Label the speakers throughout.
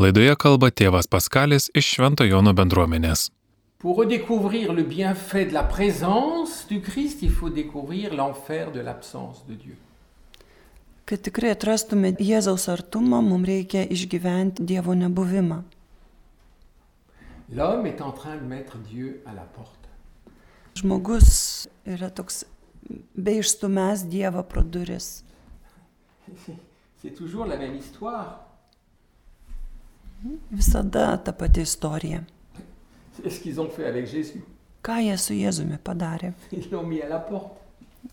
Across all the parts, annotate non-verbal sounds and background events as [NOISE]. Speaker 1: Laidoje kalba tėvas Paskalis iš Švento Jono bendruomenės.
Speaker 2: Pour redécouvrir le bienfait de la présence du Christ, il faut découvrir l'enfer de l'absence de Dieu.
Speaker 3: Kad tikrai atrastume Jėzaus artumą, mums reikia išgyventi Dievo nebuvimą.
Speaker 2: L'homme est en train de mettre Dieu à la porte.
Speaker 3: Žmogus yra toks be išstumęs Dievą pro duris.
Speaker 2: C'est toujours la même histoire.
Speaker 3: Visada ta pati istorija.
Speaker 2: C'est ce qu'ils ont fait avec Jésus.
Speaker 3: Ką jie su Jėzumi padarė? Tai
Speaker 2: Ils l'ont mis à la porte.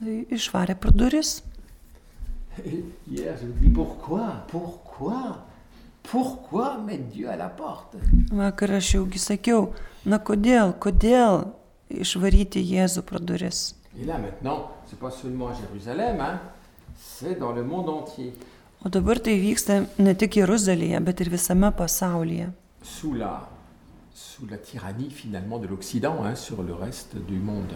Speaker 3: Išvarė pro duris.
Speaker 2: Et hier, je vous dis pourquoi, pourquoi, pourquoi mettre Dieu à la porte
Speaker 3: Vakar aš jaugi sakiau, na kodėl, kodėl išvaryti Jėzų pro duris?
Speaker 2: Et là maintenant, c'est pas seulement à Jérusalem, hein, c'est dans le monde entier,
Speaker 3: O dabar tai vyksta ne tik Jeruzalėje, bet ir visame pasaulyje.
Speaker 2: sous la, sous la tyrannie finalement de l'Occident hein, sur le reste du monde.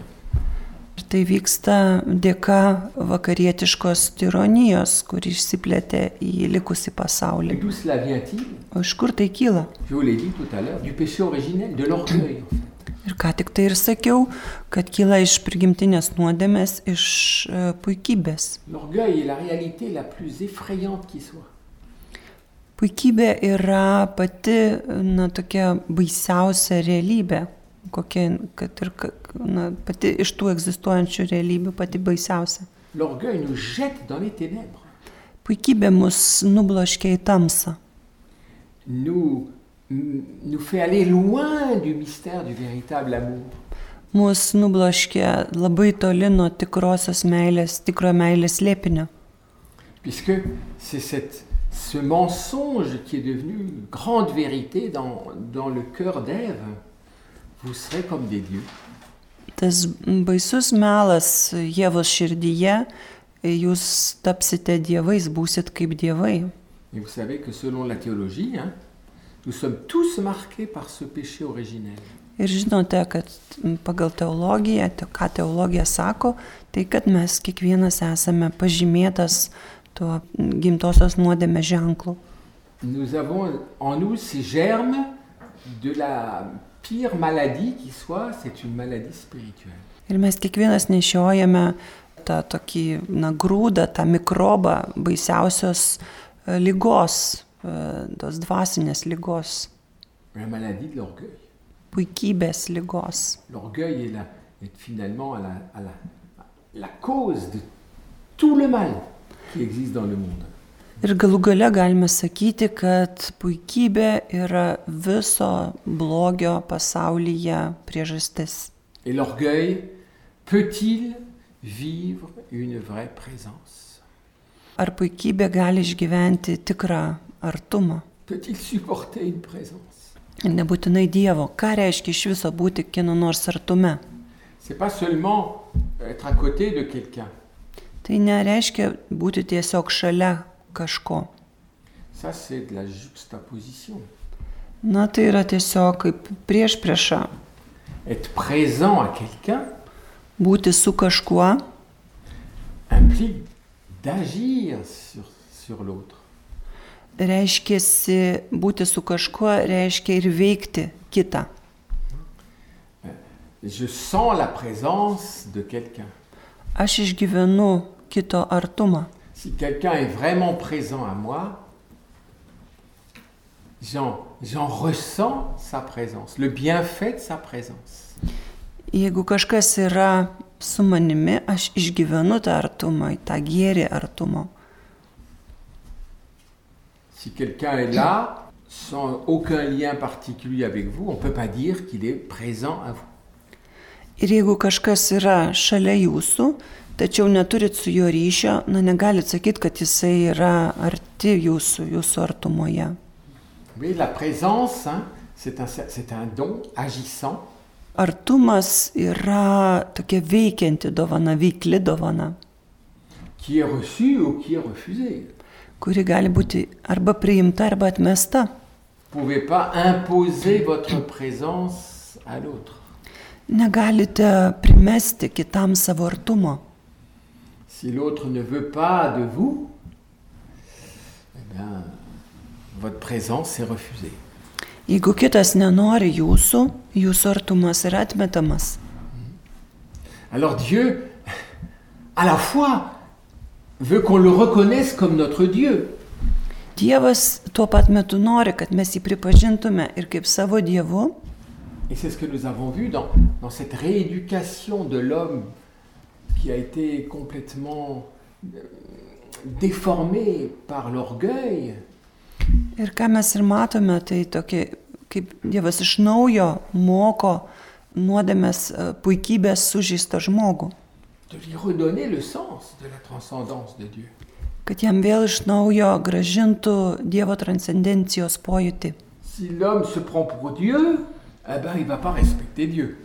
Speaker 3: Ir tai vyksta dėka vakarietiškos tironijos, kuri išsiplėtė į likusį
Speaker 2: Et
Speaker 3: pasaulį.
Speaker 2: d'où cela vient-il
Speaker 3: O iš kur tai kyla?
Speaker 2: Je vous l'ai dit tout à l'heure, du péché originel, de l'orgueil. en fait.
Speaker 3: Ir ką tik tai ir sakiau, kad kyla iš prigimtinės nuodėmės, iš e, puikybės.
Speaker 2: L'orgueil est la réalité la plus effrayante qui soit.
Speaker 3: Puikybė yra pati, na, tokia baisiausia realybė, kokia, kad ir, ka- na, pati iš tų egzistuojančių realybių pati baisiausia.
Speaker 2: L'orgueil nous jette dans les ténèbres,
Speaker 3: Puikybė mus nubloškia į tamsą,
Speaker 2: nous, nous fait aller loin du mystère du véritable amour.
Speaker 3: mus nubloškia labai toli nuo tikrosios meilės, tikro meilės lėpinio.
Speaker 2: Puisque c'est cette- ce mensonge qui est devenu grande vérité dans, dans le cœur d'Ève. Vous serez comme des dieux.
Speaker 3: Tas baisus melas Jėvos širdyje, jūs tapsite dievais, būsit kaip dievai.
Speaker 2: Et vous savez que selon la théologie, hein, nous sommes tous marqués par ce péché originel.
Speaker 3: Ir žinote, kad pagal teologiją, te- ką teologija sako, tai kad mes kiekvienas esame pažymėtas tuo gimtosios nuodėme ženklu.
Speaker 2: Nous avons en nous ces germes de la pire maladie qui soit, c'est une maladie spirituelle.
Speaker 3: Ir mes kiekvienas nešiojame tą tokį na, grūdą, tą mikrobą baisiausios e, lygos, e, tos dvasinės lygos,
Speaker 2: La maladie de l'orgueil.
Speaker 3: puikybės lygos.
Speaker 2: L'orgueil est, la- est finalement à la, à la- à la cause de tout le mal qui existe dans le monde.
Speaker 3: Ir galų gale galime sakyti, kad puikybė yra viso blogio pasaulyje priežastis.
Speaker 2: Et l'orgueil peut-il vivre une vraie présence
Speaker 3: Ar puikybė gali išgyventi tikrą artumą?
Speaker 2: Peut-il supporter une présence
Speaker 3: Ir Nebūtinai Dievo. Ką reiškia iš viso būti kieno nors artume?
Speaker 2: C'est pas seulement être à côté de quelqu'un.
Speaker 3: Tai nereiškia būti tiesiog šalia kažko.
Speaker 2: Ça, c'est de la juxtaposition.
Speaker 3: Na tai yra tiesiog kaip prieš priešą.
Speaker 2: Être présent à quelqu'un
Speaker 3: Būti su kažkuo
Speaker 2: implique d'agir sur, sur l'autre.
Speaker 3: reiškia, būti su kažkuo reiškia ir veikti kitą.
Speaker 2: Je sens la présence de quelqu'un.
Speaker 3: Aš išgyvenu kito artumą.
Speaker 2: Si quelqu'un est vraiment présent à moi, j'en j'en ressens sa présence, le bienfait de sa présence.
Speaker 3: Jeigu kažkas yra su manimi, aš išgyvenu tą artumą, tą gėrį artumo.
Speaker 2: Si quelqu'un est là, sans aucun lien particulier avec vous, on ne peut pas dire qu'il est présent à vous.
Speaker 3: Ir jeigu kažkas yra šalia jūsų, tačiau neturit su juo ryšio, na negalit sakyti, kad jisai yra arti jūsų, jūsų artumoje.
Speaker 2: Vous voyez, la présence, hein, c'est un, c'est un don agissant.
Speaker 3: Artumas yra tokia veikianti dovana, veikli dovana,
Speaker 2: qui est reçu ou qui est refusé.
Speaker 3: kuri gali būti arba priimta, arba atmesta.
Speaker 2: Vous ne pouvez pas imposer votre présence à l'autre.
Speaker 3: Negalite primesti kitam savo artumo.
Speaker 2: Si l'autre ne veut pas de vous, eh bien, votre présence est refusée.
Speaker 3: Jeigu kitas nenori jūsų, jūsų artumas yra atmetamas.
Speaker 2: Alors Dieu, à la fois, veut qu'on le reconnaisse comme notre Dieu,
Speaker 3: Dievas tuo pat metu nori, kad mes jį pripažintume ir kaip savo Dievu.
Speaker 2: Et c'est ce que nous avons vu dans, dans cette rééducation de l'homme qui a été complètement euh, déformé par l'orgueil.
Speaker 3: Ir ką mes ir matome, tai tokie, kaip Dievas iš naujo moko nuodėmės e, puikybės sužįstą žmogų,
Speaker 2: de lui redonner le sens de la transcendance de Dieu.
Speaker 3: kad jam vėl iš naujo gražintų Dievo transcendencijos pojūtį.
Speaker 2: Si l'homme se prend pour Dieu, eh ben, il va pas respecter Dieu.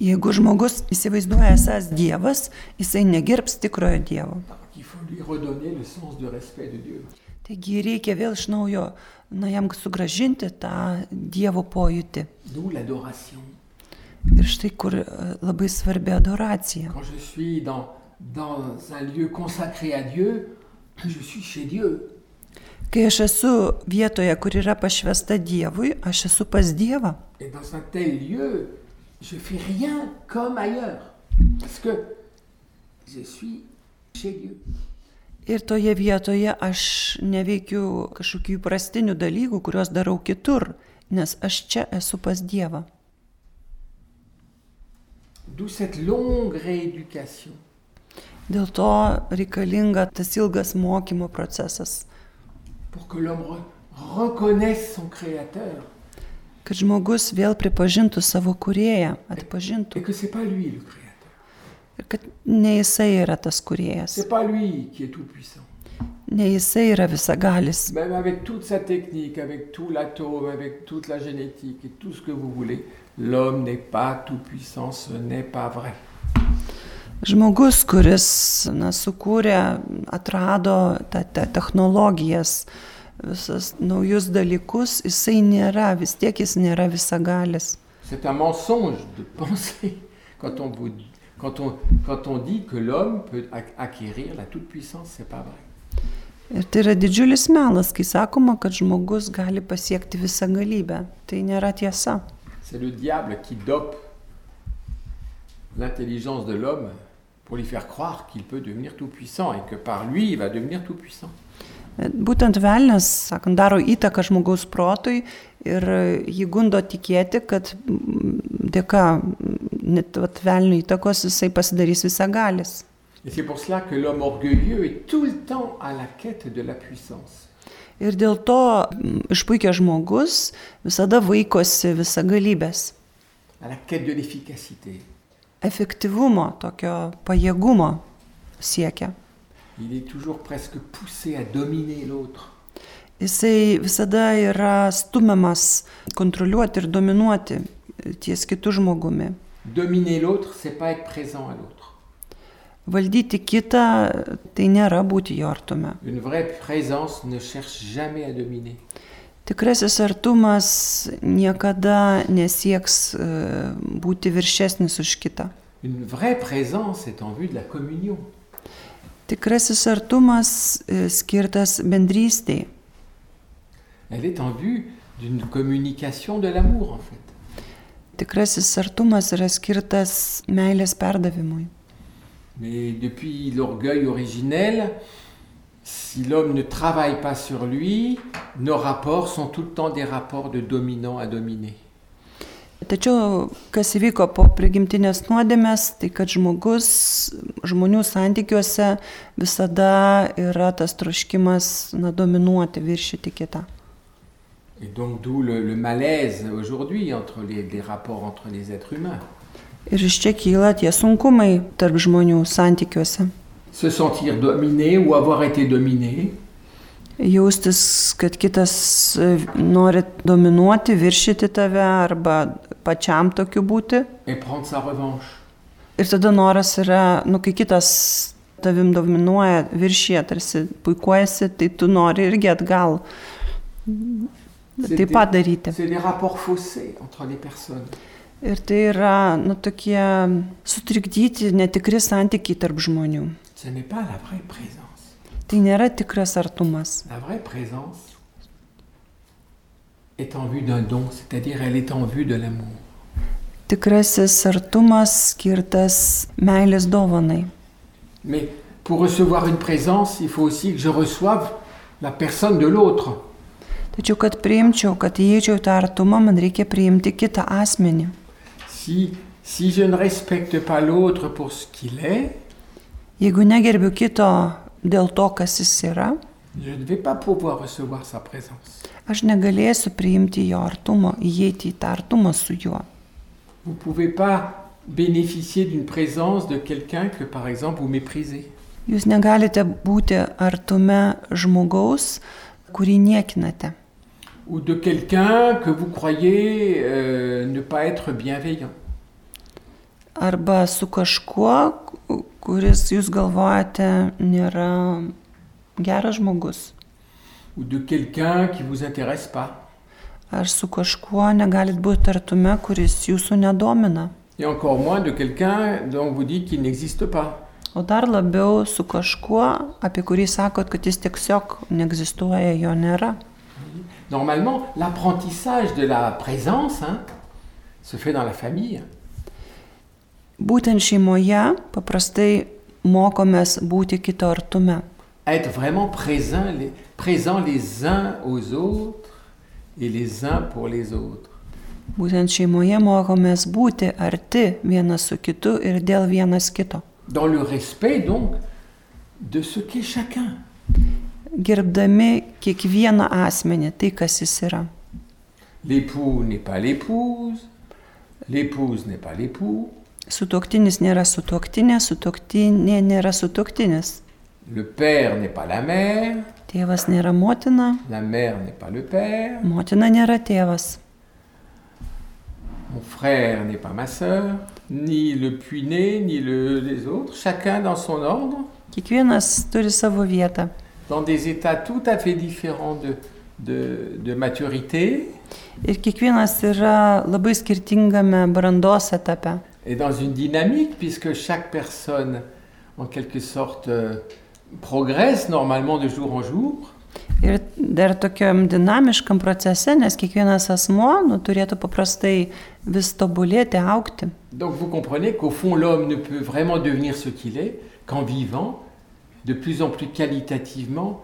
Speaker 3: Jeigu žmogus įsivaizduoja esas Dievas, jisai negerbs tikrojo Dievo.
Speaker 2: Donc, il faut lui redonner le sens de respect de Dieu.
Speaker 3: Taigi reikia vėl iš naujo, na, jam sugražinti tą Dievo pojūtį.
Speaker 2: D'où l'adoration.
Speaker 3: Ir štai kur e, labai svarbi adoracija.
Speaker 2: Quand je suis dans, dans un lieu consacré à Dieu, je suis chez Dieu.
Speaker 3: Kai aš esu vietoje, kur yra pašvesta Dievui, aš esu pas Dievą.
Speaker 2: Et dans un tel lieu, je fais rien comme ailleurs. Parce que je suis chez Dieu.
Speaker 3: Ir toje vietoje aš neveikiu kažkokių įprastinių dalykų, kuriuos darau kitur, nes aš čia esu pas Dievą.
Speaker 2: D'où cette longue rééducation.
Speaker 3: Dėl to reikalinga tas ilgas mokymo procesas,
Speaker 2: Pour que l'homme re- reconnaisse son Créateur.
Speaker 3: kad žmogus vėl pripažintų savo kurėją, atpažintų,
Speaker 2: Et que c'est pas lui le Créateur.
Speaker 3: ir kad ne jisai yra tas kurėjas,
Speaker 2: C'est pas lui qui est tout puissant.
Speaker 3: ne jisai yra visagalis.
Speaker 2: Même avec toute sa technique, avec tout l'atome, avec toute la génétique et tout ce que vous voulez, l'homme n'est pas tout puissant, ce n'est pas vrai.
Speaker 3: Žmogus, kuris na, sukūrė, atrado tą, tą technologijas, visus naujus dalykus, jisai nėra, vis tiek jis nėra visagalis.
Speaker 2: C'est un mensonge de [LAUGHS] penser quand on, vous- quand on- quand on dit que l'homme peut ac- acquérir la toute-puissance, c'est pas vrai.
Speaker 3: Ir tai yra didžiulis melas, kai sakoma, kad žmogus gali pasiekti visą galybę. Tai nėra tiesa.
Speaker 2: C'est le diable qui dope l'intelligence de l'homme pour lui faire croire qu'il peut devenir tout-puissant et que par lui, il va devenir tout-puissant.
Speaker 3: Būtent velnės, sakant, daro įtaką žmogaus protui ir jį gundo tikėti, kad mm, dėka mm, net vat velnio įtakos jisai pasidarys visagalis.
Speaker 2: Et c'est pour cela que l'homme orgueilleux est tout le temps à la quête de la puissance.
Speaker 3: Ir dėl to mm, išpuikęs žmogus visada vaikosi visagalybės,
Speaker 2: à la quête de l'efficacité.
Speaker 3: efektyvumo, tokio pajėgumo siekia.
Speaker 2: Il est toujours presque poussé à dominer l'autre.
Speaker 3: Jisai visada yra stumiamas kontroliuoti ir dominuoti ties kitų žmogumi.
Speaker 2: Dominer l'autre, c'est pas être présent à l'autre.
Speaker 3: Valdyti kitą tai nėra būti jo artume.
Speaker 2: Une vraie présence ne cherche jamais à dominer.
Speaker 3: Tikrasis artumas niekada nesieks e, būti viršesnis už kitą.
Speaker 2: Une vraie présence est en vue de la communion.
Speaker 3: Tikrasis artumas e, skirtas bendrystėjai.
Speaker 2: Elle est en vue d'une communication de l'amour, en fait.
Speaker 3: Tikrasis artumas yra skirtas meilės perdavimui.
Speaker 2: Mais depuis l'orgueil originel, si l'homme ne travaille pas sur lui, nos rapports sont tout le temps des rapports de dominant à dominer.
Speaker 3: Tačiau, kas įvyko po prigimtinės nuodėmės, tai kad žmogus žmonių santykiuose visada yra tas troškimas na, dominuoti, viršyti kitą.
Speaker 2: Et donc d'où le, le malaise aujourd'hui entre les, les rapports entre les êtres humains.
Speaker 3: Ir iš čia kyla tie sunkumai tarp žmonių santykiuose.
Speaker 2: Se sentir dominé ou avoir été dominé,
Speaker 3: Jaustis, kad kitas e, nori dominuoti, viršyti tave arba pačiam tokiu būti.
Speaker 2: et prendre sa revanche.
Speaker 3: Ir tada noras yra, nu, kai kitas tavim dominuoja viršyje, tarsi puikuojasi, tai tu nori irgi atgal taip pat daryti.
Speaker 2: C'est des rapports faussés entre les personnes.
Speaker 3: Ir tai yra, nu, tokie sutrikdyti netikri santykiai tarp žmonių.
Speaker 2: Ce n'est pas la vraie présence.
Speaker 3: Tai nėra tikras artumas.
Speaker 2: La vraie présence, est en vue d'un don, c'est-à-dire elle est en vue de l'amour.
Speaker 3: Tikrasis artumas skirtas meilės dovanai.
Speaker 2: Mais pour recevoir une présence, il faut aussi que je reçoive la personne de l'autre.
Speaker 3: Tačiau, kad priimčiau, kad įeičiau į tą artumą, man reikia priimti kitą asmenį.
Speaker 2: Si, si je ne respecte pas l'autre pour ce qu'il est,
Speaker 3: Jeigu negerbiu kito dėl to, kas jis yra,
Speaker 2: je ne vais pas pouvoir recevoir sa présence.
Speaker 3: aš negalėsiu priimti jo artumo, įeiti į tą artumą su juo.
Speaker 2: Vous ne pouvez pas bénéficier d'une présence de quelqu'un que, par exemple, vous méprisez.
Speaker 3: Jūs negalite būti artume žmogaus, kurį niekinate,
Speaker 2: Ou de quelqu'un que vous croyez euh, ne pas être bienveillant.
Speaker 3: arba su kažkuo, ku- kuris jūs galvojate nėra geras žmogus,
Speaker 2: Ou de quelqu'un qui ne vous intéresse pas.
Speaker 3: ar su kažkuo negalit būti artume, kuris jūsų nedomina,
Speaker 2: Et encore moins de quelqu'un dont vous dites qu'il n'existe pas.
Speaker 3: o dar labiau su kažkuo, apie kurį sakot, kad jis tiesiog neegzistuoja, jo nėra.
Speaker 2: Normalement, l'apprentissage de la présence hein, se fait dans la famille. hein.
Speaker 3: Būtent šeimoje paprastai mokomės būti kito artume.
Speaker 2: être vraiment présents les, présents les uns aux autres et les uns pour les autres.
Speaker 3: Būtent šeimoje mokomės būti arti vienas su kitu ir dėl vienas kito.
Speaker 2: Dans le respect donc de ce qu'est chacun.
Speaker 3: Gerbdami kiekvieną asmenį, tai kas jis yra.
Speaker 2: L'époux n'est pas l'épouse, l'épouse n'est pas l'époux,
Speaker 3: Sutoktinis nėra sutoktinė, sutoktinė nėra sutoktinis.
Speaker 2: le père n'est pas la mère,
Speaker 3: Tėvas nėra motina,
Speaker 2: la mère n'est pas le père,
Speaker 3: motina nėra tėvas.
Speaker 2: mon frère n'est pas ma sœur, ni le puiné, ni le- les autres, chacun dans son ordre,
Speaker 3: Kiekvienas turi savo vietą.
Speaker 2: dans des états tout à fait différents de, de- de maturité,
Speaker 3: Ir kiekvienas yra labai skirtingame brandos etape.
Speaker 2: et dans une dynamique, puisque chaque personne, en quelque sorte, euh, progresse normalement de jour en jour.
Speaker 3: Ir dar tokiam dinamiškam procese, nes kiekvienas asmo nu, turėtų paprastai vis tobulėti, aukti.
Speaker 2: Donc vous comprenez qu'au fond, l'homme ne peut vraiment devenir ce qu'il est qu'en vivant de plus en plus qualitativement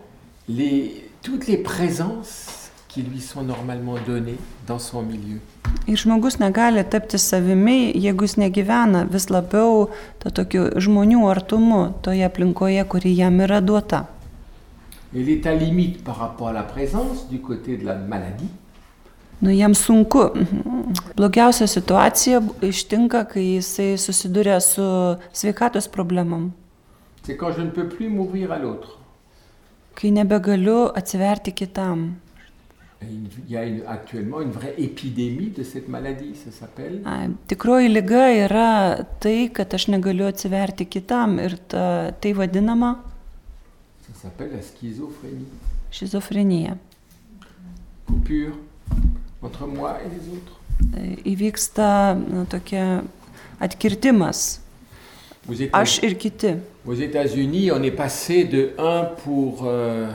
Speaker 2: les, toutes les présences qui lui sont normalement données dans son milieu.
Speaker 3: Ir žmogus negali tapti savimi, jeigu jis negyvena vis labiau to tokiu žmonių artumu toje aplinkoje, kuri jam yra duota.
Speaker 2: Et l'état limite par rapport à la présence du côté de la maladie,
Speaker 3: Nu, jam sunku. Blogiausia situacija ištinka, kai jisai susiduria su sveikatos problemam,
Speaker 2: c'est quand je ne peux plus m'ouvrir à l'autre.
Speaker 3: kai nebegaliu atsiverti kitam.
Speaker 2: Et Il y a une- actuellement une vraie épidémie de cette maladie, ça s'appelle.
Speaker 3: Ai, Tikroji lyga yra tai, kad aš negaliu atsiverti kitam ir ta, tai vadinama
Speaker 2: Ça s'appelle la schizophrénie.
Speaker 3: šizofrenija.
Speaker 2: Coupure entre moi et les autres.
Speaker 3: E, Įvyksta na, tokia atkirtimas.
Speaker 2: Aux Éta-
Speaker 3: Aš ir kiti.
Speaker 2: aux États-Unis, on est passé de 1 pour, euh,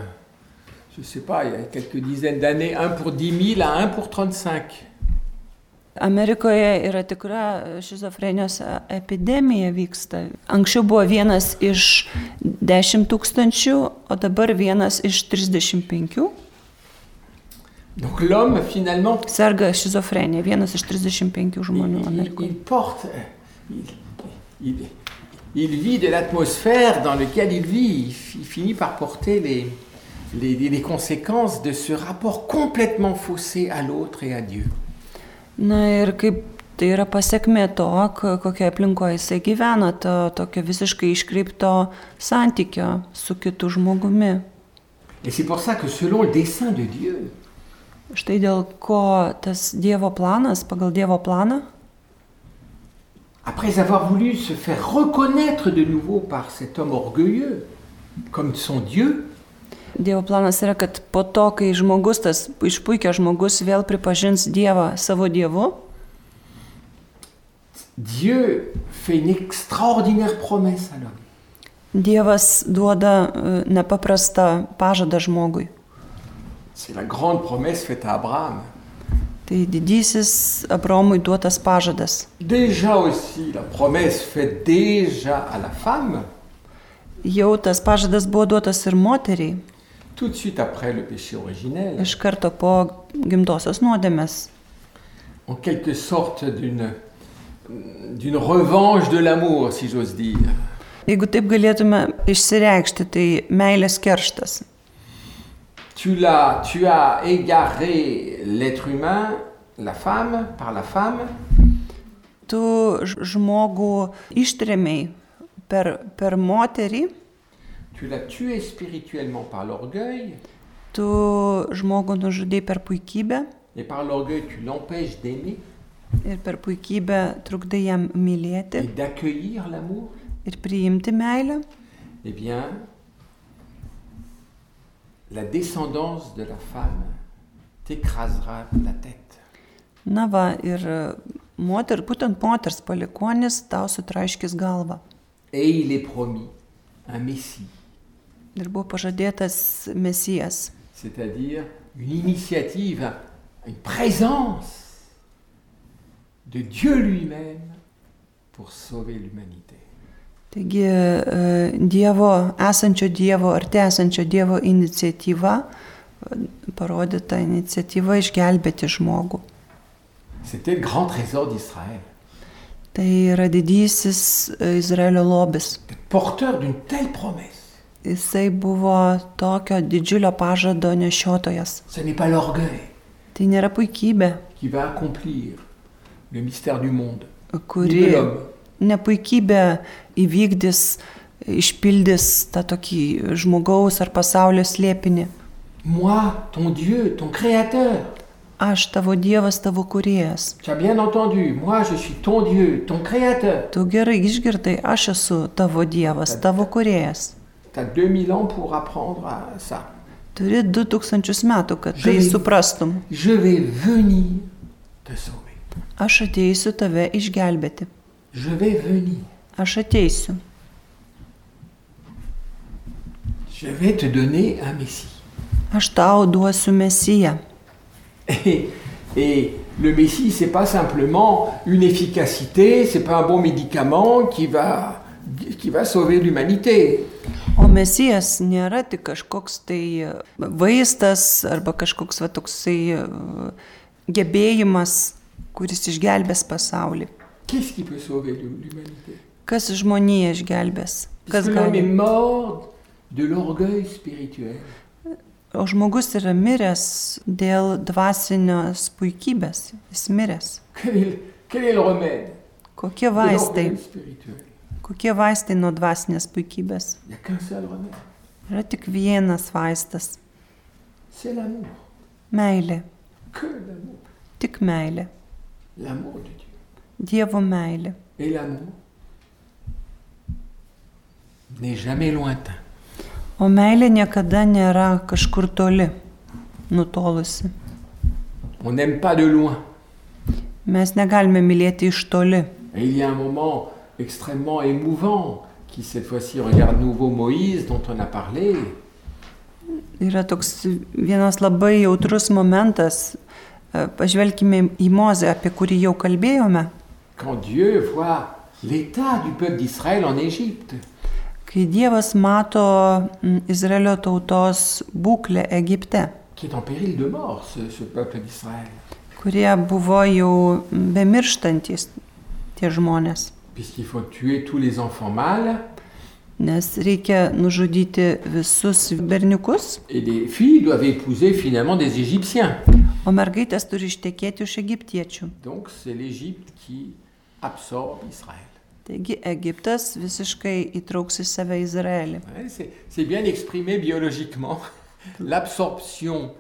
Speaker 2: je sais pas, il y a quelques dizaines d'années, 1 pour 10 000 à 1 pour 35.
Speaker 3: Amerikoje yra tikra šizofrenijos e, epidemija vyksta. Anksčiau buvo vienas iš 10 tūkstančių, o dabar vienas iš 35.
Speaker 2: Donc l'homme, finalement,
Speaker 3: Serga šizofrenija, vienas iš 35
Speaker 2: il,
Speaker 3: žmonių
Speaker 2: il-
Speaker 3: Amerikoje.
Speaker 2: il porte, euh, il, il- il vit de l'atmosphère dans laquelle il vit. Il, fi- il finit par porter les- les- les conséquences de ce rapport complètement faussé à l'autre et à Dieu.
Speaker 3: Na ir kaip tai yra pasiekmė to, ko- kokioje aplinkoje jisai gyvena, to tokio visiškai iškreipto santykio su kitu žmogumi.
Speaker 2: Et c'est pour ça que selon le dessein de Dieu,
Speaker 3: Štai dėl ko tas Dievo planas, pagal Dievo planą,
Speaker 2: après avoir voulu se faire reconnaître de nouveau par cet homme orgueilleux, comme son Dieu,
Speaker 3: Dievo planas yra, kad po to, kai žmogus, tas išpuikęs žmogus vėl pripažins Dievą savo Dievu,
Speaker 2: Dieu fait une extraordinaire promesse à l'homme.
Speaker 3: Dievas duoda e, nepaprastą pažadą žmogui.
Speaker 2: C'est la grande promesse faite à Abraham.
Speaker 3: Tai didysis Abromui duotas pažadas.
Speaker 2: Déjà aussi, la promesse faite déjà à la femme,
Speaker 3: Jau tas pažadas buvo duotas ir moteriai,
Speaker 2: tout de suite après le péché originel,
Speaker 3: iš karto po gimtosios nuodėmės.
Speaker 2: en quelque sorte d'une d'une revanche de l'amour, si j'ose dire.
Speaker 3: Jeigu taip galėtume išsireikšti, tai meilės kerštas.
Speaker 2: Tu l'as, tu as égaré l'être humain, la femme, par la femme,
Speaker 3: Tu ž- žmogų ištremiai per, per moterį,
Speaker 2: tu l'as tué spirituellement par l'orgueil,
Speaker 3: tu žmogų nužudai per puikybę
Speaker 2: et par l'orgueil tu l'empêches d'aimer
Speaker 3: ir per puikybę trukdai jam
Speaker 2: et
Speaker 3: mylėti
Speaker 2: d'accueillir l'amour.
Speaker 3: ir priimti meilę.
Speaker 2: Eh bien, la descendance de la femme t'écrasera la tête.
Speaker 3: Na va, ir e, moter, būtent moters palikonis tau sutraiškis galvą.
Speaker 2: Et il est promis un Messie,
Speaker 3: Ir buvo pažadėtas mesijas.
Speaker 2: c'est-à-dire une initiative, une présence de Dieu lui-même pour sauver l'humanité.
Speaker 3: Taigi e, Dievo, esančio Dievo ar tęsančio Dievo iniciatyva, e, parodyta iniciatyva išgelbėti žmogų.
Speaker 2: C'était le grand trésor d'Israël.
Speaker 3: Tai yra didysis e, Izraelio lobis.
Speaker 2: d'être Porteur d'une telle promesse,
Speaker 3: Jisai buvo tokio didžiulio pažado nešiotojas.
Speaker 2: ce n'est pas l'orgueil
Speaker 3: Tai nėra puikybė,
Speaker 2: qui va accomplir le mystère du monde,
Speaker 3: kuri
Speaker 2: Ni de l'homme.
Speaker 3: nepuikybė įvykdys, išpildys tą tokį žmogaus ar pasaulio slėpinį.
Speaker 2: Moi, ton Dieu, ton Créateur.
Speaker 3: Aš tavo Dievas, tavo kuriejas.
Speaker 2: Tu as bien entendu, moi je suis ton Dieu, ton Créateur.
Speaker 3: Tu gerai išgirdai, aš esu tavo Dievas, tavo kuriejas.
Speaker 2: Tu as 2000 ans pour apprendre à ça.
Speaker 3: Turi 2000 metų, kad tai
Speaker 2: Žinai.
Speaker 3: suprastum.
Speaker 2: Je vais venir te sauver.
Speaker 3: Aš ateisiu tave išgelbėti.
Speaker 2: Je vais venir.
Speaker 3: Aš ateisiu.
Speaker 2: Je vais te donner un Messie.
Speaker 3: Aš tau duosiu mesiją.
Speaker 2: Et, et le Messie, c'est pas simplement une efficacité, c'est pas un bon médicament qui va, qui va sauver l'humanité.
Speaker 3: O mesijas nėra tik kažkoks tai vaistas arba kažkoks va toksai e, gebėjimas, kuris išgelbės pasaulį.
Speaker 2: Qu'est-ce qui peut sauver l'humanité
Speaker 3: Kas žmoniją išgelbės?
Speaker 2: Parce
Speaker 3: Kas
Speaker 2: que l'homme est
Speaker 3: gali?
Speaker 2: mort de l'orgueil spirituel.
Speaker 3: O žmogus yra miręs dėl dvasinės puikybės. Jis miręs.
Speaker 2: Quel est, quel est le remède
Speaker 3: Kokie
Speaker 2: de
Speaker 3: vaistai?
Speaker 2: l'orgueil spirituel
Speaker 3: Kokie vaistai nuo dvasinės puikybės?
Speaker 2: Il n'y a qu'un seul remède,
Speaker 3: Yra tik vienas vaistas
Speaker 2: c'est l'amour.
Speaker 3: - meilė.
Speaker 2: Que l'amour.
Speaker 3: Tik meilė.
Speaker 2: L'amour de Dieu.
Speaker 3: Dievo meilė.
Speaker 2: Et l'amour n'est jamais lointain.
Speaker 3: O meilė niekada nėra kažkur toli, nutolusi.
Speaker 2: On n'aime pas de loin.
Speaker 3: Mes negalime mylėti iš toli.
Speaker 2: Et il y a un moment extrêmement émouvant qui, cette fois-ci, regarde nouveau Moïse, dont on a parlé.
Speaker 3: Yra toks vienas labai jautrus momentas. E, Pažvelkime į Mozę, apie kurį jau kalbėjome.
Speaker 2: Quand Dieu voit l'état du peuple d'Israël en Égypte,
Speaker 3: Kai Dievas mato mm, Izraelio tautos būklę Egipte,
Speaker 2: qui est en péril de mort, ce, ce peuple d'Israël,
Speaker 3: kurie buvo jau bemirštantis tie žmonės.
Speaker 2: puisqu'il faut tuer tous les enfants mâles
Speaker 3: Nes reikia nužudyti visus berniukus,
Speaker 2: et les filles doivent épouser finalement des Égyptiens.
Speaker 3: o mergaitės turi ištekėti už egiptiečių.
Speaker 2: Donc c'est l'Égypte qui absorbe Israël.
Speaker 3: Taigi Egiptas visiškai įtrauks į save Izraelį.
Speaker 2: Ouais, c'est- c'est bien exprimé biologiquement. [LAUGHS] L'absorption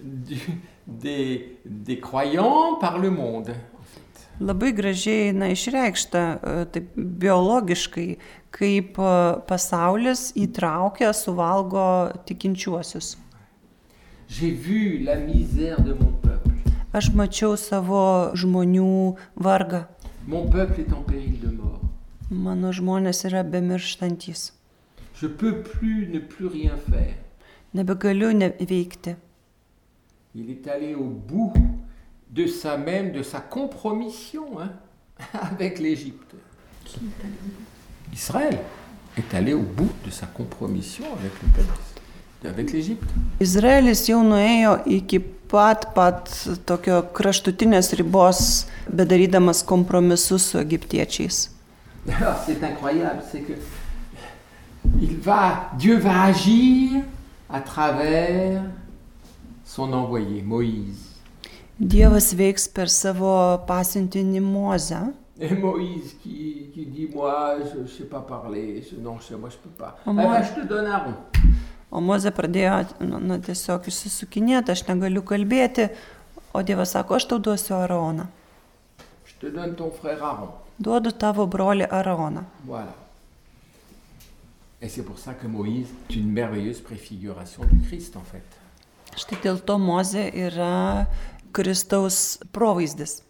Speaker 2: du- des, des croyants par le monde. en fait.
Speaker 3: Labai gražiai na, išreikšta, e, taip biologiškai, kaip e, pasaulis įtraukia, suvalgo tikinčiuosius.
Speaker 2: J'ai vu la misère de mon peuple.
Speaker 3: Aš mačiau savo žmonių vargą.
Speaker 2: Mon peuple est en péril de mort.
Speaker 3: Mano žmonės yra bemirštantis.
Speaker 2: Je peux plus ne plus rien faire.
Speaker 3: Nebegaliu neveikti.
Speaker 2: Il est allé au bout de sa même, de sa compromission hein, [LAUGHS] avec l'Égypte. Israël est allé au bout de sa compromission avec le peuple, avec l'Égypte. [LAUGHS]
Speaker 3: Izraelis jau nuėjo iki pat pat tokio kraštutinės ribos, bedarydamas kompromisus su egiptiečiais.
Speaker 2: Alors Ah, c'est incroyable, c'est que il va, Dieu va agir à travers son envoyé, Moïse.
Speaker 3: Dievas veiks per savo pasiuntinį mozę.
Speaker 2: Et Moïse qui, qui dit Moi, je ne sais pas parler, je- non, je- moi, je ne peux pas.
Speaker 3: Oh,
Speaker 2: Eh ben,
Speaker 3: moi.
Speaker 2: je te donne Aaron.
Speaker 3: O mozė pradėjo nu, nu, tiesiog išsisukinėti, aš negaliu kalbėti, o Dievas sako, aš tau duosiu Araoną.
Speaker 2: Je te donne ton frère Aaron.
Speaker 3: Duodu tavo brolį Araoną.
Speaker 2: Voilà. Et c'est pour ça que Moïse est une merveilleuse préfiguration du Christ, en fait.
Speaker 3: Štai dėl to mozė yra Kristaus provaizdis.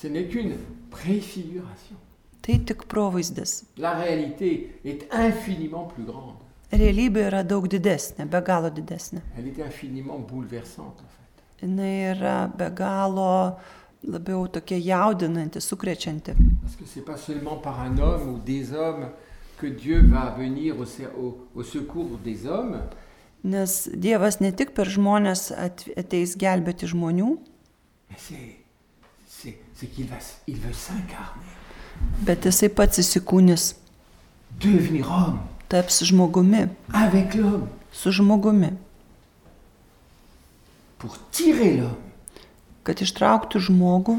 Speaker 2: Ce n'est qu'une préfiguration.
Speaker 3: Tai tik provaizdis.
Speaker 2: La réalité est infiniment plus grande.
Speaker 3: Realybė yra daug didesnė, be galo didesnė.
Speaker 2: Elle est infiniment bouleversante, en fait.
Speaker 3: Jis yra be galo labiau tokia jaudinanti, sukrečianti.
Speaker 2: Parce que ce n'est pas seulement par un homme ou des hommes que Dieu va venir au, ser- au- au secours des hommes,
Speaker 3: Nes Dievas ne tik per žmonės at- ateis gelbėti žmonių,
Speaker 2: mais c'est- c'est c'est qu'il va s- il veut s'incarner,
Speaker 3: bet jisai pats įsikūnis,
Speaker 2: devenir homme
Speaker 3: taps žmogumi,
Speaker 2: avec l'homme,
Speaker 3: su žmogumi,
Speaker 2: pour tirer l'homme
Speaker 3: kad ištrauktų žmogų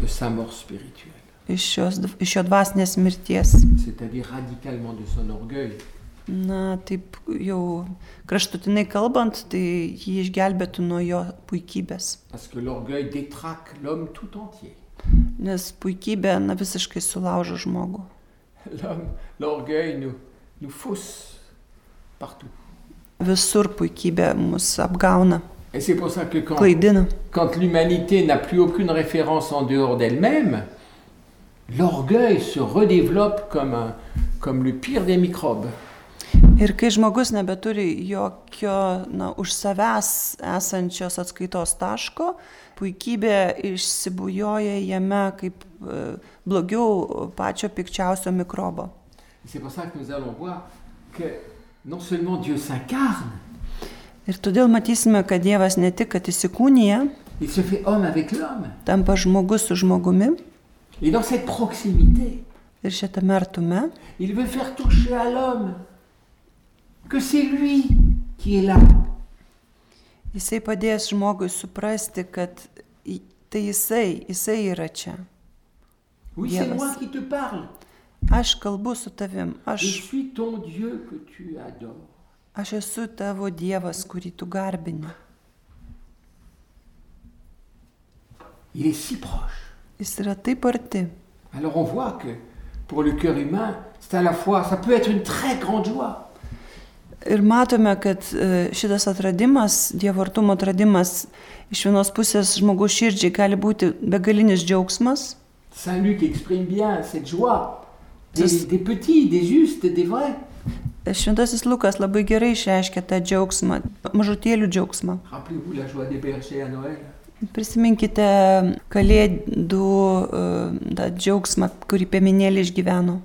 Speaker 2: de sa mort spirituelle.
Speaker 3: iš, šios, iš jo dvasinės mirties.
Speaker 2: c'est-à-dire radicalement de son orgueil,
Speaker 3: Na, taip jau kraštutinai kalbant, tai jį išgelbėtų nuo jo puikybės.
Speaker 2: parce que l'orgueil détraque l'homme tout entier. [LAUGHS]
Speaker 3: Nes puikybė, na, visiškai sulaužo žmogų.
Speaker 2: L'homme, l'orgueil nous, nous fausse partout.
Speaker 3: Visur puikybė mus apgauna,
Speaker 2: Et c'est pour ça que quand,
Speaker 3: klaidina.
Speaker 2: quand l'humanité n'a plus aucune référence en dehors d'elle-même, l'orgueil se redéveloppe comme, un- comme le pire des microbes.
Speaker 3: Ir kai žmogus nebeturi jokio, na, už savęs esančios atskaitos taško, puikybė išsibujoja jame kaip e, blogiau pačio pikčiausio mikrobo.
Speaker 2: Et C'est pour ça que nous allons voir que non seulement Dieu s'incarne,
Speaker 3: Ir todėl matysime, kad Dievas ne tik, kad įsikūnija,
Speaker 2: il se fait homme avec l'homme.
Speaker 3: tampa žmogus su žmogumi
Speaker 2: Et dans cette proximité,
Speaker 3: ir šitame artume,
Speaker 2: Il veut faire toucher à l'homme que c'est lui qui est là.
Speaker 3: jisai padės žmogui suprasti, kad į- tai jisai, jisai yra čia.
Speaker 2: Oui,
Speaker 3: Bien,
Speaker 2: c'est
Speaker 3: bah,
Speaker 2: moi
Speaker 3: c'est-
Speaker 2: qui te parle.
Speaker 3: Aš kalbu su tavim,
Speaker 2: Je
Speaker 3: aš,
Speaker 2: suis ton Dieu que tu adores.
Speaker 3: aš esu tavo Dievas, kurį tu garbini.
Speaker 2: Il est si proche.
Speaker 3: Jis yra taip arti.
Speaker 2: Alors on voit que pour le cœur humain, c'est à la fois, ça peut être une très grande joie,
Speaker 3: Ir matome, kad e, šitas atradimas, Dievo artumo atradimas, iš vienos pusės žmogaus širdžiai gali būti begalinis džiaugsmas.
Speaker 2: Saint Luc exprime bien cette joie. Des,
Speaker 3: C'est-
Speaker 2: des petits, des justes, des vrais.
Speaker 3: Šventasis Lukas labai gerai išreiškia tą džiaugsmą, mažutėlių džiaugsmą.
Speaker 2: Rappelez-vous la joie des bergers à Noël.
Speaker 3: Prisiminkite kalėdų e, tą džiaugsmą, kurį pieminėlį išgyveno.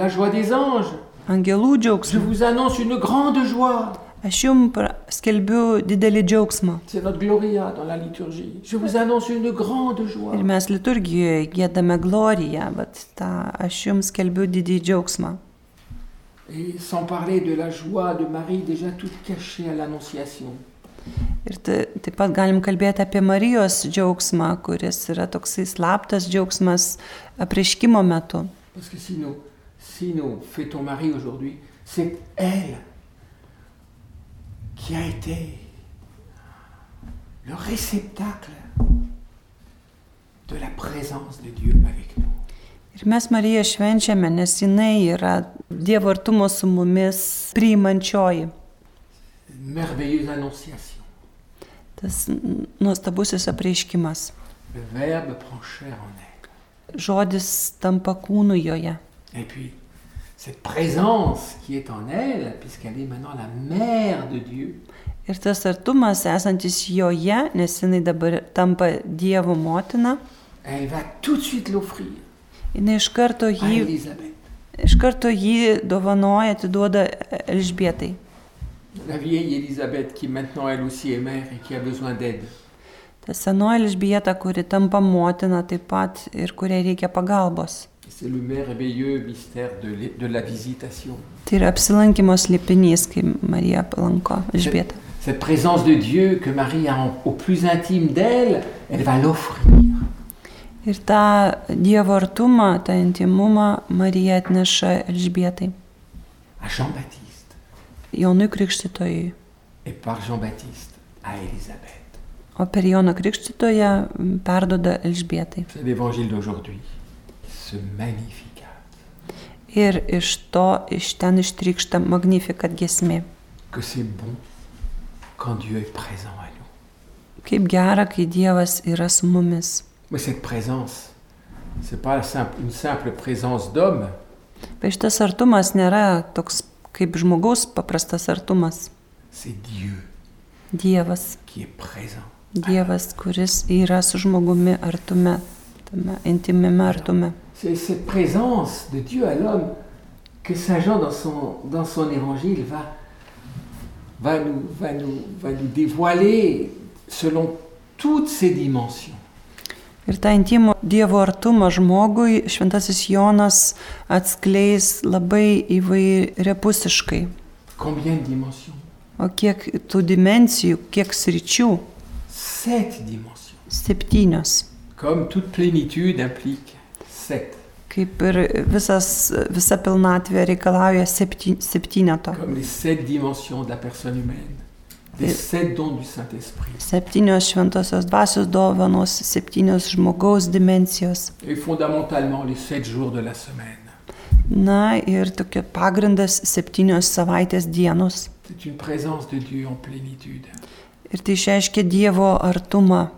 Speaker 2: La joie des anges.
Speaker 3: Angelų
Speaker 2: Je
Speaker 3: džiaugsmą.
Speaker 2: vous annonce une grande joie.
Speaker 3: Aš jums pra- skelbiu didelį džiaugsmą.
Speaker 2: C'est notre Gloria dans la liturgie. Je vous annonce une grande joie.
Speaker 3: Ir mes liturgijoje gėdame gloriją, bet tą aš jums skelbiu didį džiaugsmą.
Speaker 2: Et sans parler de la joie de Marie déjà toute cachée à l'Annonciation.
Speaker 3: Ir ta- taip pat galim kalbėti apie Marijos džiaugsmą, kuris yra toksai slaptas džiaugsmas apriškimo metu.
Speaker 2: Parce que si nous, si nous fêtons Marie aujourd'hui, c'est elle qui a été le réceptacle de la présence de Dieu avec nous.
Speaker 3: Ir mes Mariją švenčiame, nes jinai yra Dievo artumo su mumis priimančioji.
Speaker 2: Une merveilleuse annonciation.
Speaker 3: Tas n- nuostabusis apreiškimas.
Speaker 2: Le Verbe prend chair en elle.
Speaker 3: Žodis tampa kūnu joje.
Speaker 2: Et puis, cette présence qui est en elle, puisqu'elle est maintenant la mère de Dieu,
Speaker 3: Ir tas artumas esantis joje, nes jinai dabar tampa Dievo motina,
Speaker 2: Elle va tout de suite l'offrir
Speaker 3: jinai iš karto
Speaker 2: à
Speaker 3: jį,
Speaker 2: Élisabeth.
Speaker 3: iš karto jį dovanoja, atiduoda Elžbietai.
Speaker 2: La vieille Élisabeth qui maintenant elle aussi est mère et qui a besoin d'aide.
Speaker 3: Ta senoji Elžbieta, kuri tampa motina taip pat ir kuriai reikia pagalbos.
Speaker 2: C'est le merveilleux mystère de l'é- de la visitation.
Speaker 3: Tai yra apsilankimo slėpinys, kai Marija palanko Elžbietą.
Speaker 2: Cette présence de Dieu que Marie a en- au plus intime d'elle, elle va l'offrir.
Speaker 3: Ir tą Dievo artumą, tą intimumą Marija atneša Elžbietai,
Speaker 2: à Jean-Baptiste
Speaker 3: Jonui Krikštytojui.
Speaker 2: et par Jean-Baptiste à Élisabeth.
Speaker 3: O per Joną Krikštytoją m, perdoda Elžbietai.
Speaker 2: C'est l'évangile d'aujourd'hui, ce magnificat.
Speaker 3: Ir iš to, iš ten ištrykšta magnifikat gesmė.
Speaker 2: Que c'est bon quand Dieu est présent à nous.
Speaker 3: Kaip gera, kai Dievas yra su mumis.
Speaker 2: Mais cette présence, c'est pas la simple- une simple présence d'homme,
Speaker 3: Bet šitas artumas nėra toks kaip žmogaus paprastas artumas.
Speaker 2: c'est Dieu
Speaker 3: Dievas.
Speaker 2: qui est présent.
Speaker 3: Dievas, kuris yra su žmogumi artume, tame intimime artume.
Speaker 2: C'est cette présence de Dieu à l'homme que Saint Jean dans son, dans son évangile va, va, nous, va, nous, va nous dévoiler selon toutes ses dimensions.
Speaker 3: Ir tą intimų Dievo artumą žmogui Šventasis Jonas atskleis labai įvairiapusiškai.
Speaker 2: Combien de dimensions
Speaker 3: O kiek tų dimencijų, kiek sričių?
Speaker 2: Sept dimensions.
Speaker 3: Septynios.
Speaker 2: Comme toute plénitude implique sept.
Speaker 3: Kaip ir visas, visa pilnatvė reikalauja septy, septyneto.
Speaker 2: Comme les sept dimensions de la personne humaine. Les
Speaker 3: Et-
Speaker 2: sept dons du Saint-Esprit.
Speaker 3: Septynios šventosios dvasios dovanos, septynios žmogaus dimensijos.
Speaker 2: Et fondamentalement les sept jours de la semaine.
Speaker 3: Na ir tokia pagrindas septynios savaitės dienos.
Speaker 2: C'est une présence de Dieu en plénitude.
Speaker 3: Ir tai išreiškia Dievo artumą.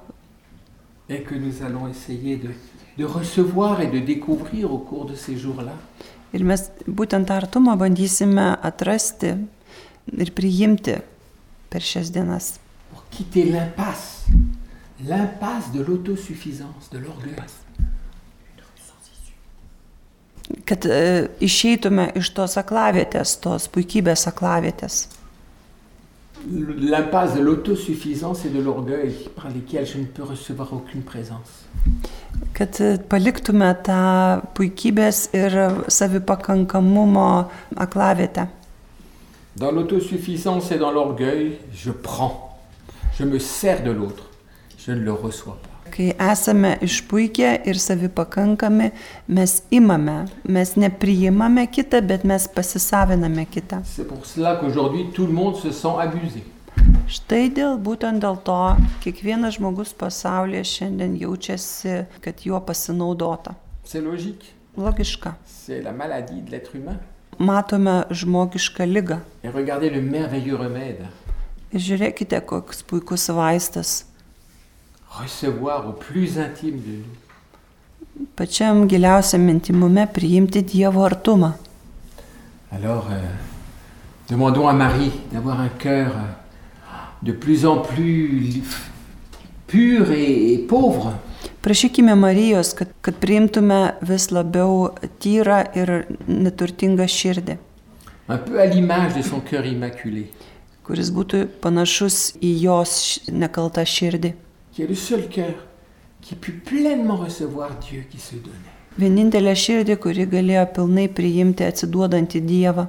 Speaker 2: Et que nous allons essayer de, de recevoir et de découvrir au cours de ces jours-là.
Speaker 3: Ir mes būtent tą artumą bandysime atrasti ir priimti per šias dienas.
Speaker 2: Pour quitter l'impasse. L'impasse de l'autosuffisance, de l'orgueil.
Speaker 3: Kad e, išeitume iš tos aklavietės, tos puikybės aklavietės.
Speaker 2: L'impasse de l'autosuffisance et de l'orgueil par lesquels je ne peux recevoir aucune présence.
Speaker 3: Kad e, paliktume tą puikybės ir savipakankamumo aklavietę.
Speaker 2: Dans l'autosuffisance et dans l'orgueil, je prends. Je me sers de l'autre. Je ne le reçois pas.
Speaker 3: Kai esame išpuikę ir savipakankami, mes imame, mes nepriimame kitą, bet mes pasisaviname kitą.
Speaker 2: C'est pour cela qu'aujourd'hui, tout le monde se sent abusé.
Speaker 3: Štai dėl būtent dėl to kiekvienas žmogus pasaulyje šiandien jaučiasi, kad juo pasinaudota.
Speaker 2: C'est logique.
Speaker 3: Logiška.
Speaker 2: C'est la maladie de l'être humain.
Speaker 3: Matome žmogišką ligą.
Speaker 2: Et regardez le merveilleux remède.
Speaker 3: Ir žiūrėkite, koks puikus vaistas.
Speaker 2: Recevoir au plus intime de nous.
Speaker 3: Pačiam giliausiam intimume priimti Dievo artumą.
Speaker 2: Alors, euh, demandons à Marie d'avoir un cœur euh, de plus en plus li- pur et- et pauvre.
Speaker 3: Prašykime Marijos, kad, kad priimtume vis labiau tyrą ir neturtingą širdį,
Speaker 2: Un peu à l'image de son cœur immaculé.
Speaker 3: kuris būtų panašus į jos š- nekaltą širdį.
Speaker 2: qui est le seul cœur qui put pleinement recevoir Dieu qui se donnait.
Speaker 3: Vienintelė širdį, kuri galėjo pilnai priimti atsiduodantį Dievą,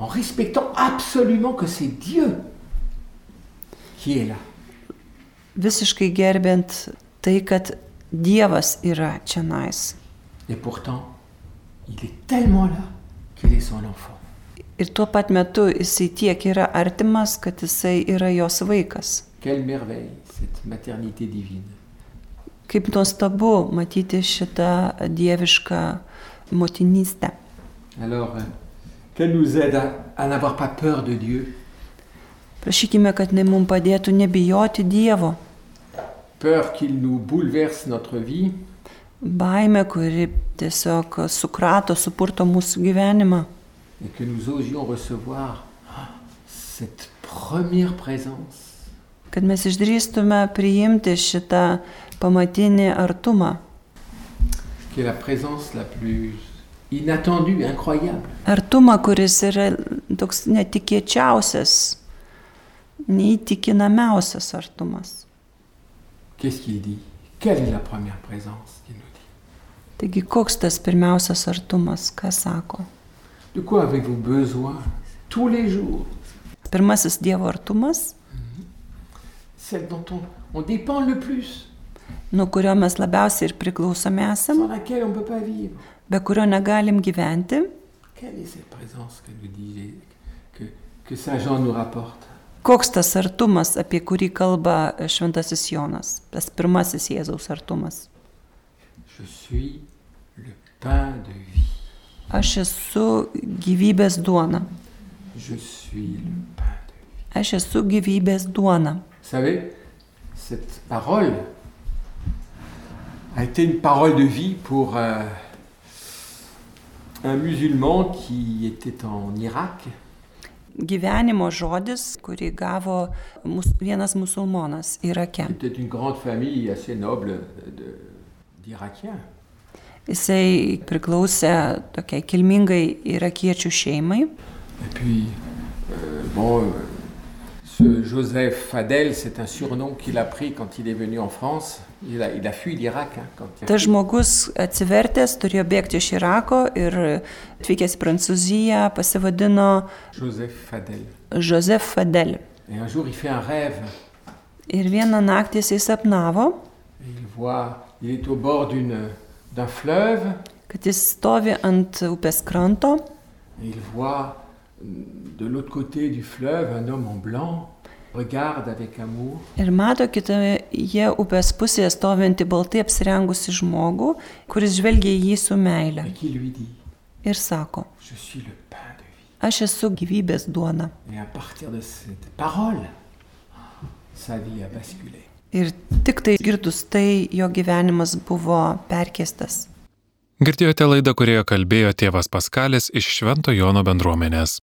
Speaker 2: En respectant absolument que c'est Dieu qui est là.
Speaker 3: visiškai gerbent tai, kad Dievas yra čia nais.
Speaker 2: Et pourtant, il est tellement là qu'il est son enfant.
Speaker 3: Ir tuo pat metu jisai tiek yra artimas, kad jisai yra jos vaikas.
Speaker 2: Quelle merveille, cette maternité divine.
Speaker 3: Kaip nuostabu matyti šitą dievišką motinystę.
Speaker 2: Alors, euh, qu'elle nous aide à, à n'avoir pas peur de Dieu,
Speaker 3: Prašykime, kad jinai mums padėtų nebijoti Dievo.
Speaker 2: peur qu'il nous bouleverse notre vie,
Speaker 3: Baime, kuri tiesiog sukrato, supurto mūsų gyvenimą.
Speaker 2: et que nous osions recevoir ah, cette première présence
Speaker 3: kad mes išdrįstume priimti šitą pamatinį artumą.
Speaker 2: qui est la présence la plus inattendue, incroyable.
Speaker 3: Artumą, kuris yra toks netikėčiausias, neįtikinamiausias artumas.
Speaker 2: Qu'est-ce qu'il dit Quelle est la première présence qu'il nous dit
Speaker 3: Taigi, koks tas pirmiausias artumas, ką sako?
Speaker 2: De quoi avez-vous besoin tous les jours
Speaker 3: Pirmasis Dievo artumas,
Speaker 2: Celle dont on, on dépend le plus,
Speaker 3: nuo kurio mes labiausiai ir priklausome esam,
Speaker 2: sans laquelle on ne peut pas vivre.
Speaker 3: be kurio negalim gyventi.
Speaker 2: Quelle est cette présence que nous dit Jé- que, que Saint Jean nous rapporte
Speaker 3: Koks tas artumas, apie kurį kalba e, Šventasis Jonas, tas pirmasis Jėzaus artumas?
Speaker 2: Je suis le pain de vie.
Speaker 3: Aš esu gyvybės duona.
Speaker 2: Je suis le pain de vie.
Speaker 3: Aš esu gyvybės duona.
Speaker 2: Vous savez, cette parole a été une parole de vie pour euh, un musulman qui était en Irak
Speaker 3: Gyvenimo žodis, kurį gavo mus, vienas musulmonas Irake.
Speaker 2: C'était une grande famille assez noble euh, de- d'Irakiens.
Speaker 3: Jisai priklausė tokiai kilmingai irakiečių šeimai.
Speaker 2: Et puis, euh, bon, euh, ce Joseph Fadel, c'est un surnom qu'il a pris quand il est venu en France. Il a, il a fui l'Irak. hein, quand il-
Speaker 3: Tas žmogus atsivertęs turėjo bėgti iš Irako ir atvykęs į Prancūziją pasivadino
Speaker 2: Joseph Fadel.
Speaker 3: Josef Fadel.
Speaker 2: Et un jour, il fait un rêve.
Speaker 3: Ir vieną naktį jisai sapnavo,
Speaker 2: Et Il voit, il est au bord d'une- d'un fleuve.
Speaker 3: kad jis stovi ant upės kranto
Speaker 2: Et il voit euh, de l'autre côté du fleuve un homme en blanc. Regarde avec amour.
Speaker 3: ir mato kitoje upės pusėje stovintį baltai apsirengusi žmogų, kuris žvelgia į jį su meile
Speaker 2: Et qui lui dit
Speaker 3: ir sako,
Speaker 2: Je suis le pain de vie.
Speaker 3: aš esu gyvybės duona.
Speaker 2: Et à partir de cette parole, sa vie a basculé.
Speaker 3: Ir tik tai girdus tai, jo gyvenimas buvo perkestas.
Speaker 1: Girdėjote laidą, kurioje kalbėjo tėvas Paskalis iš Švento Jono bendruomenės.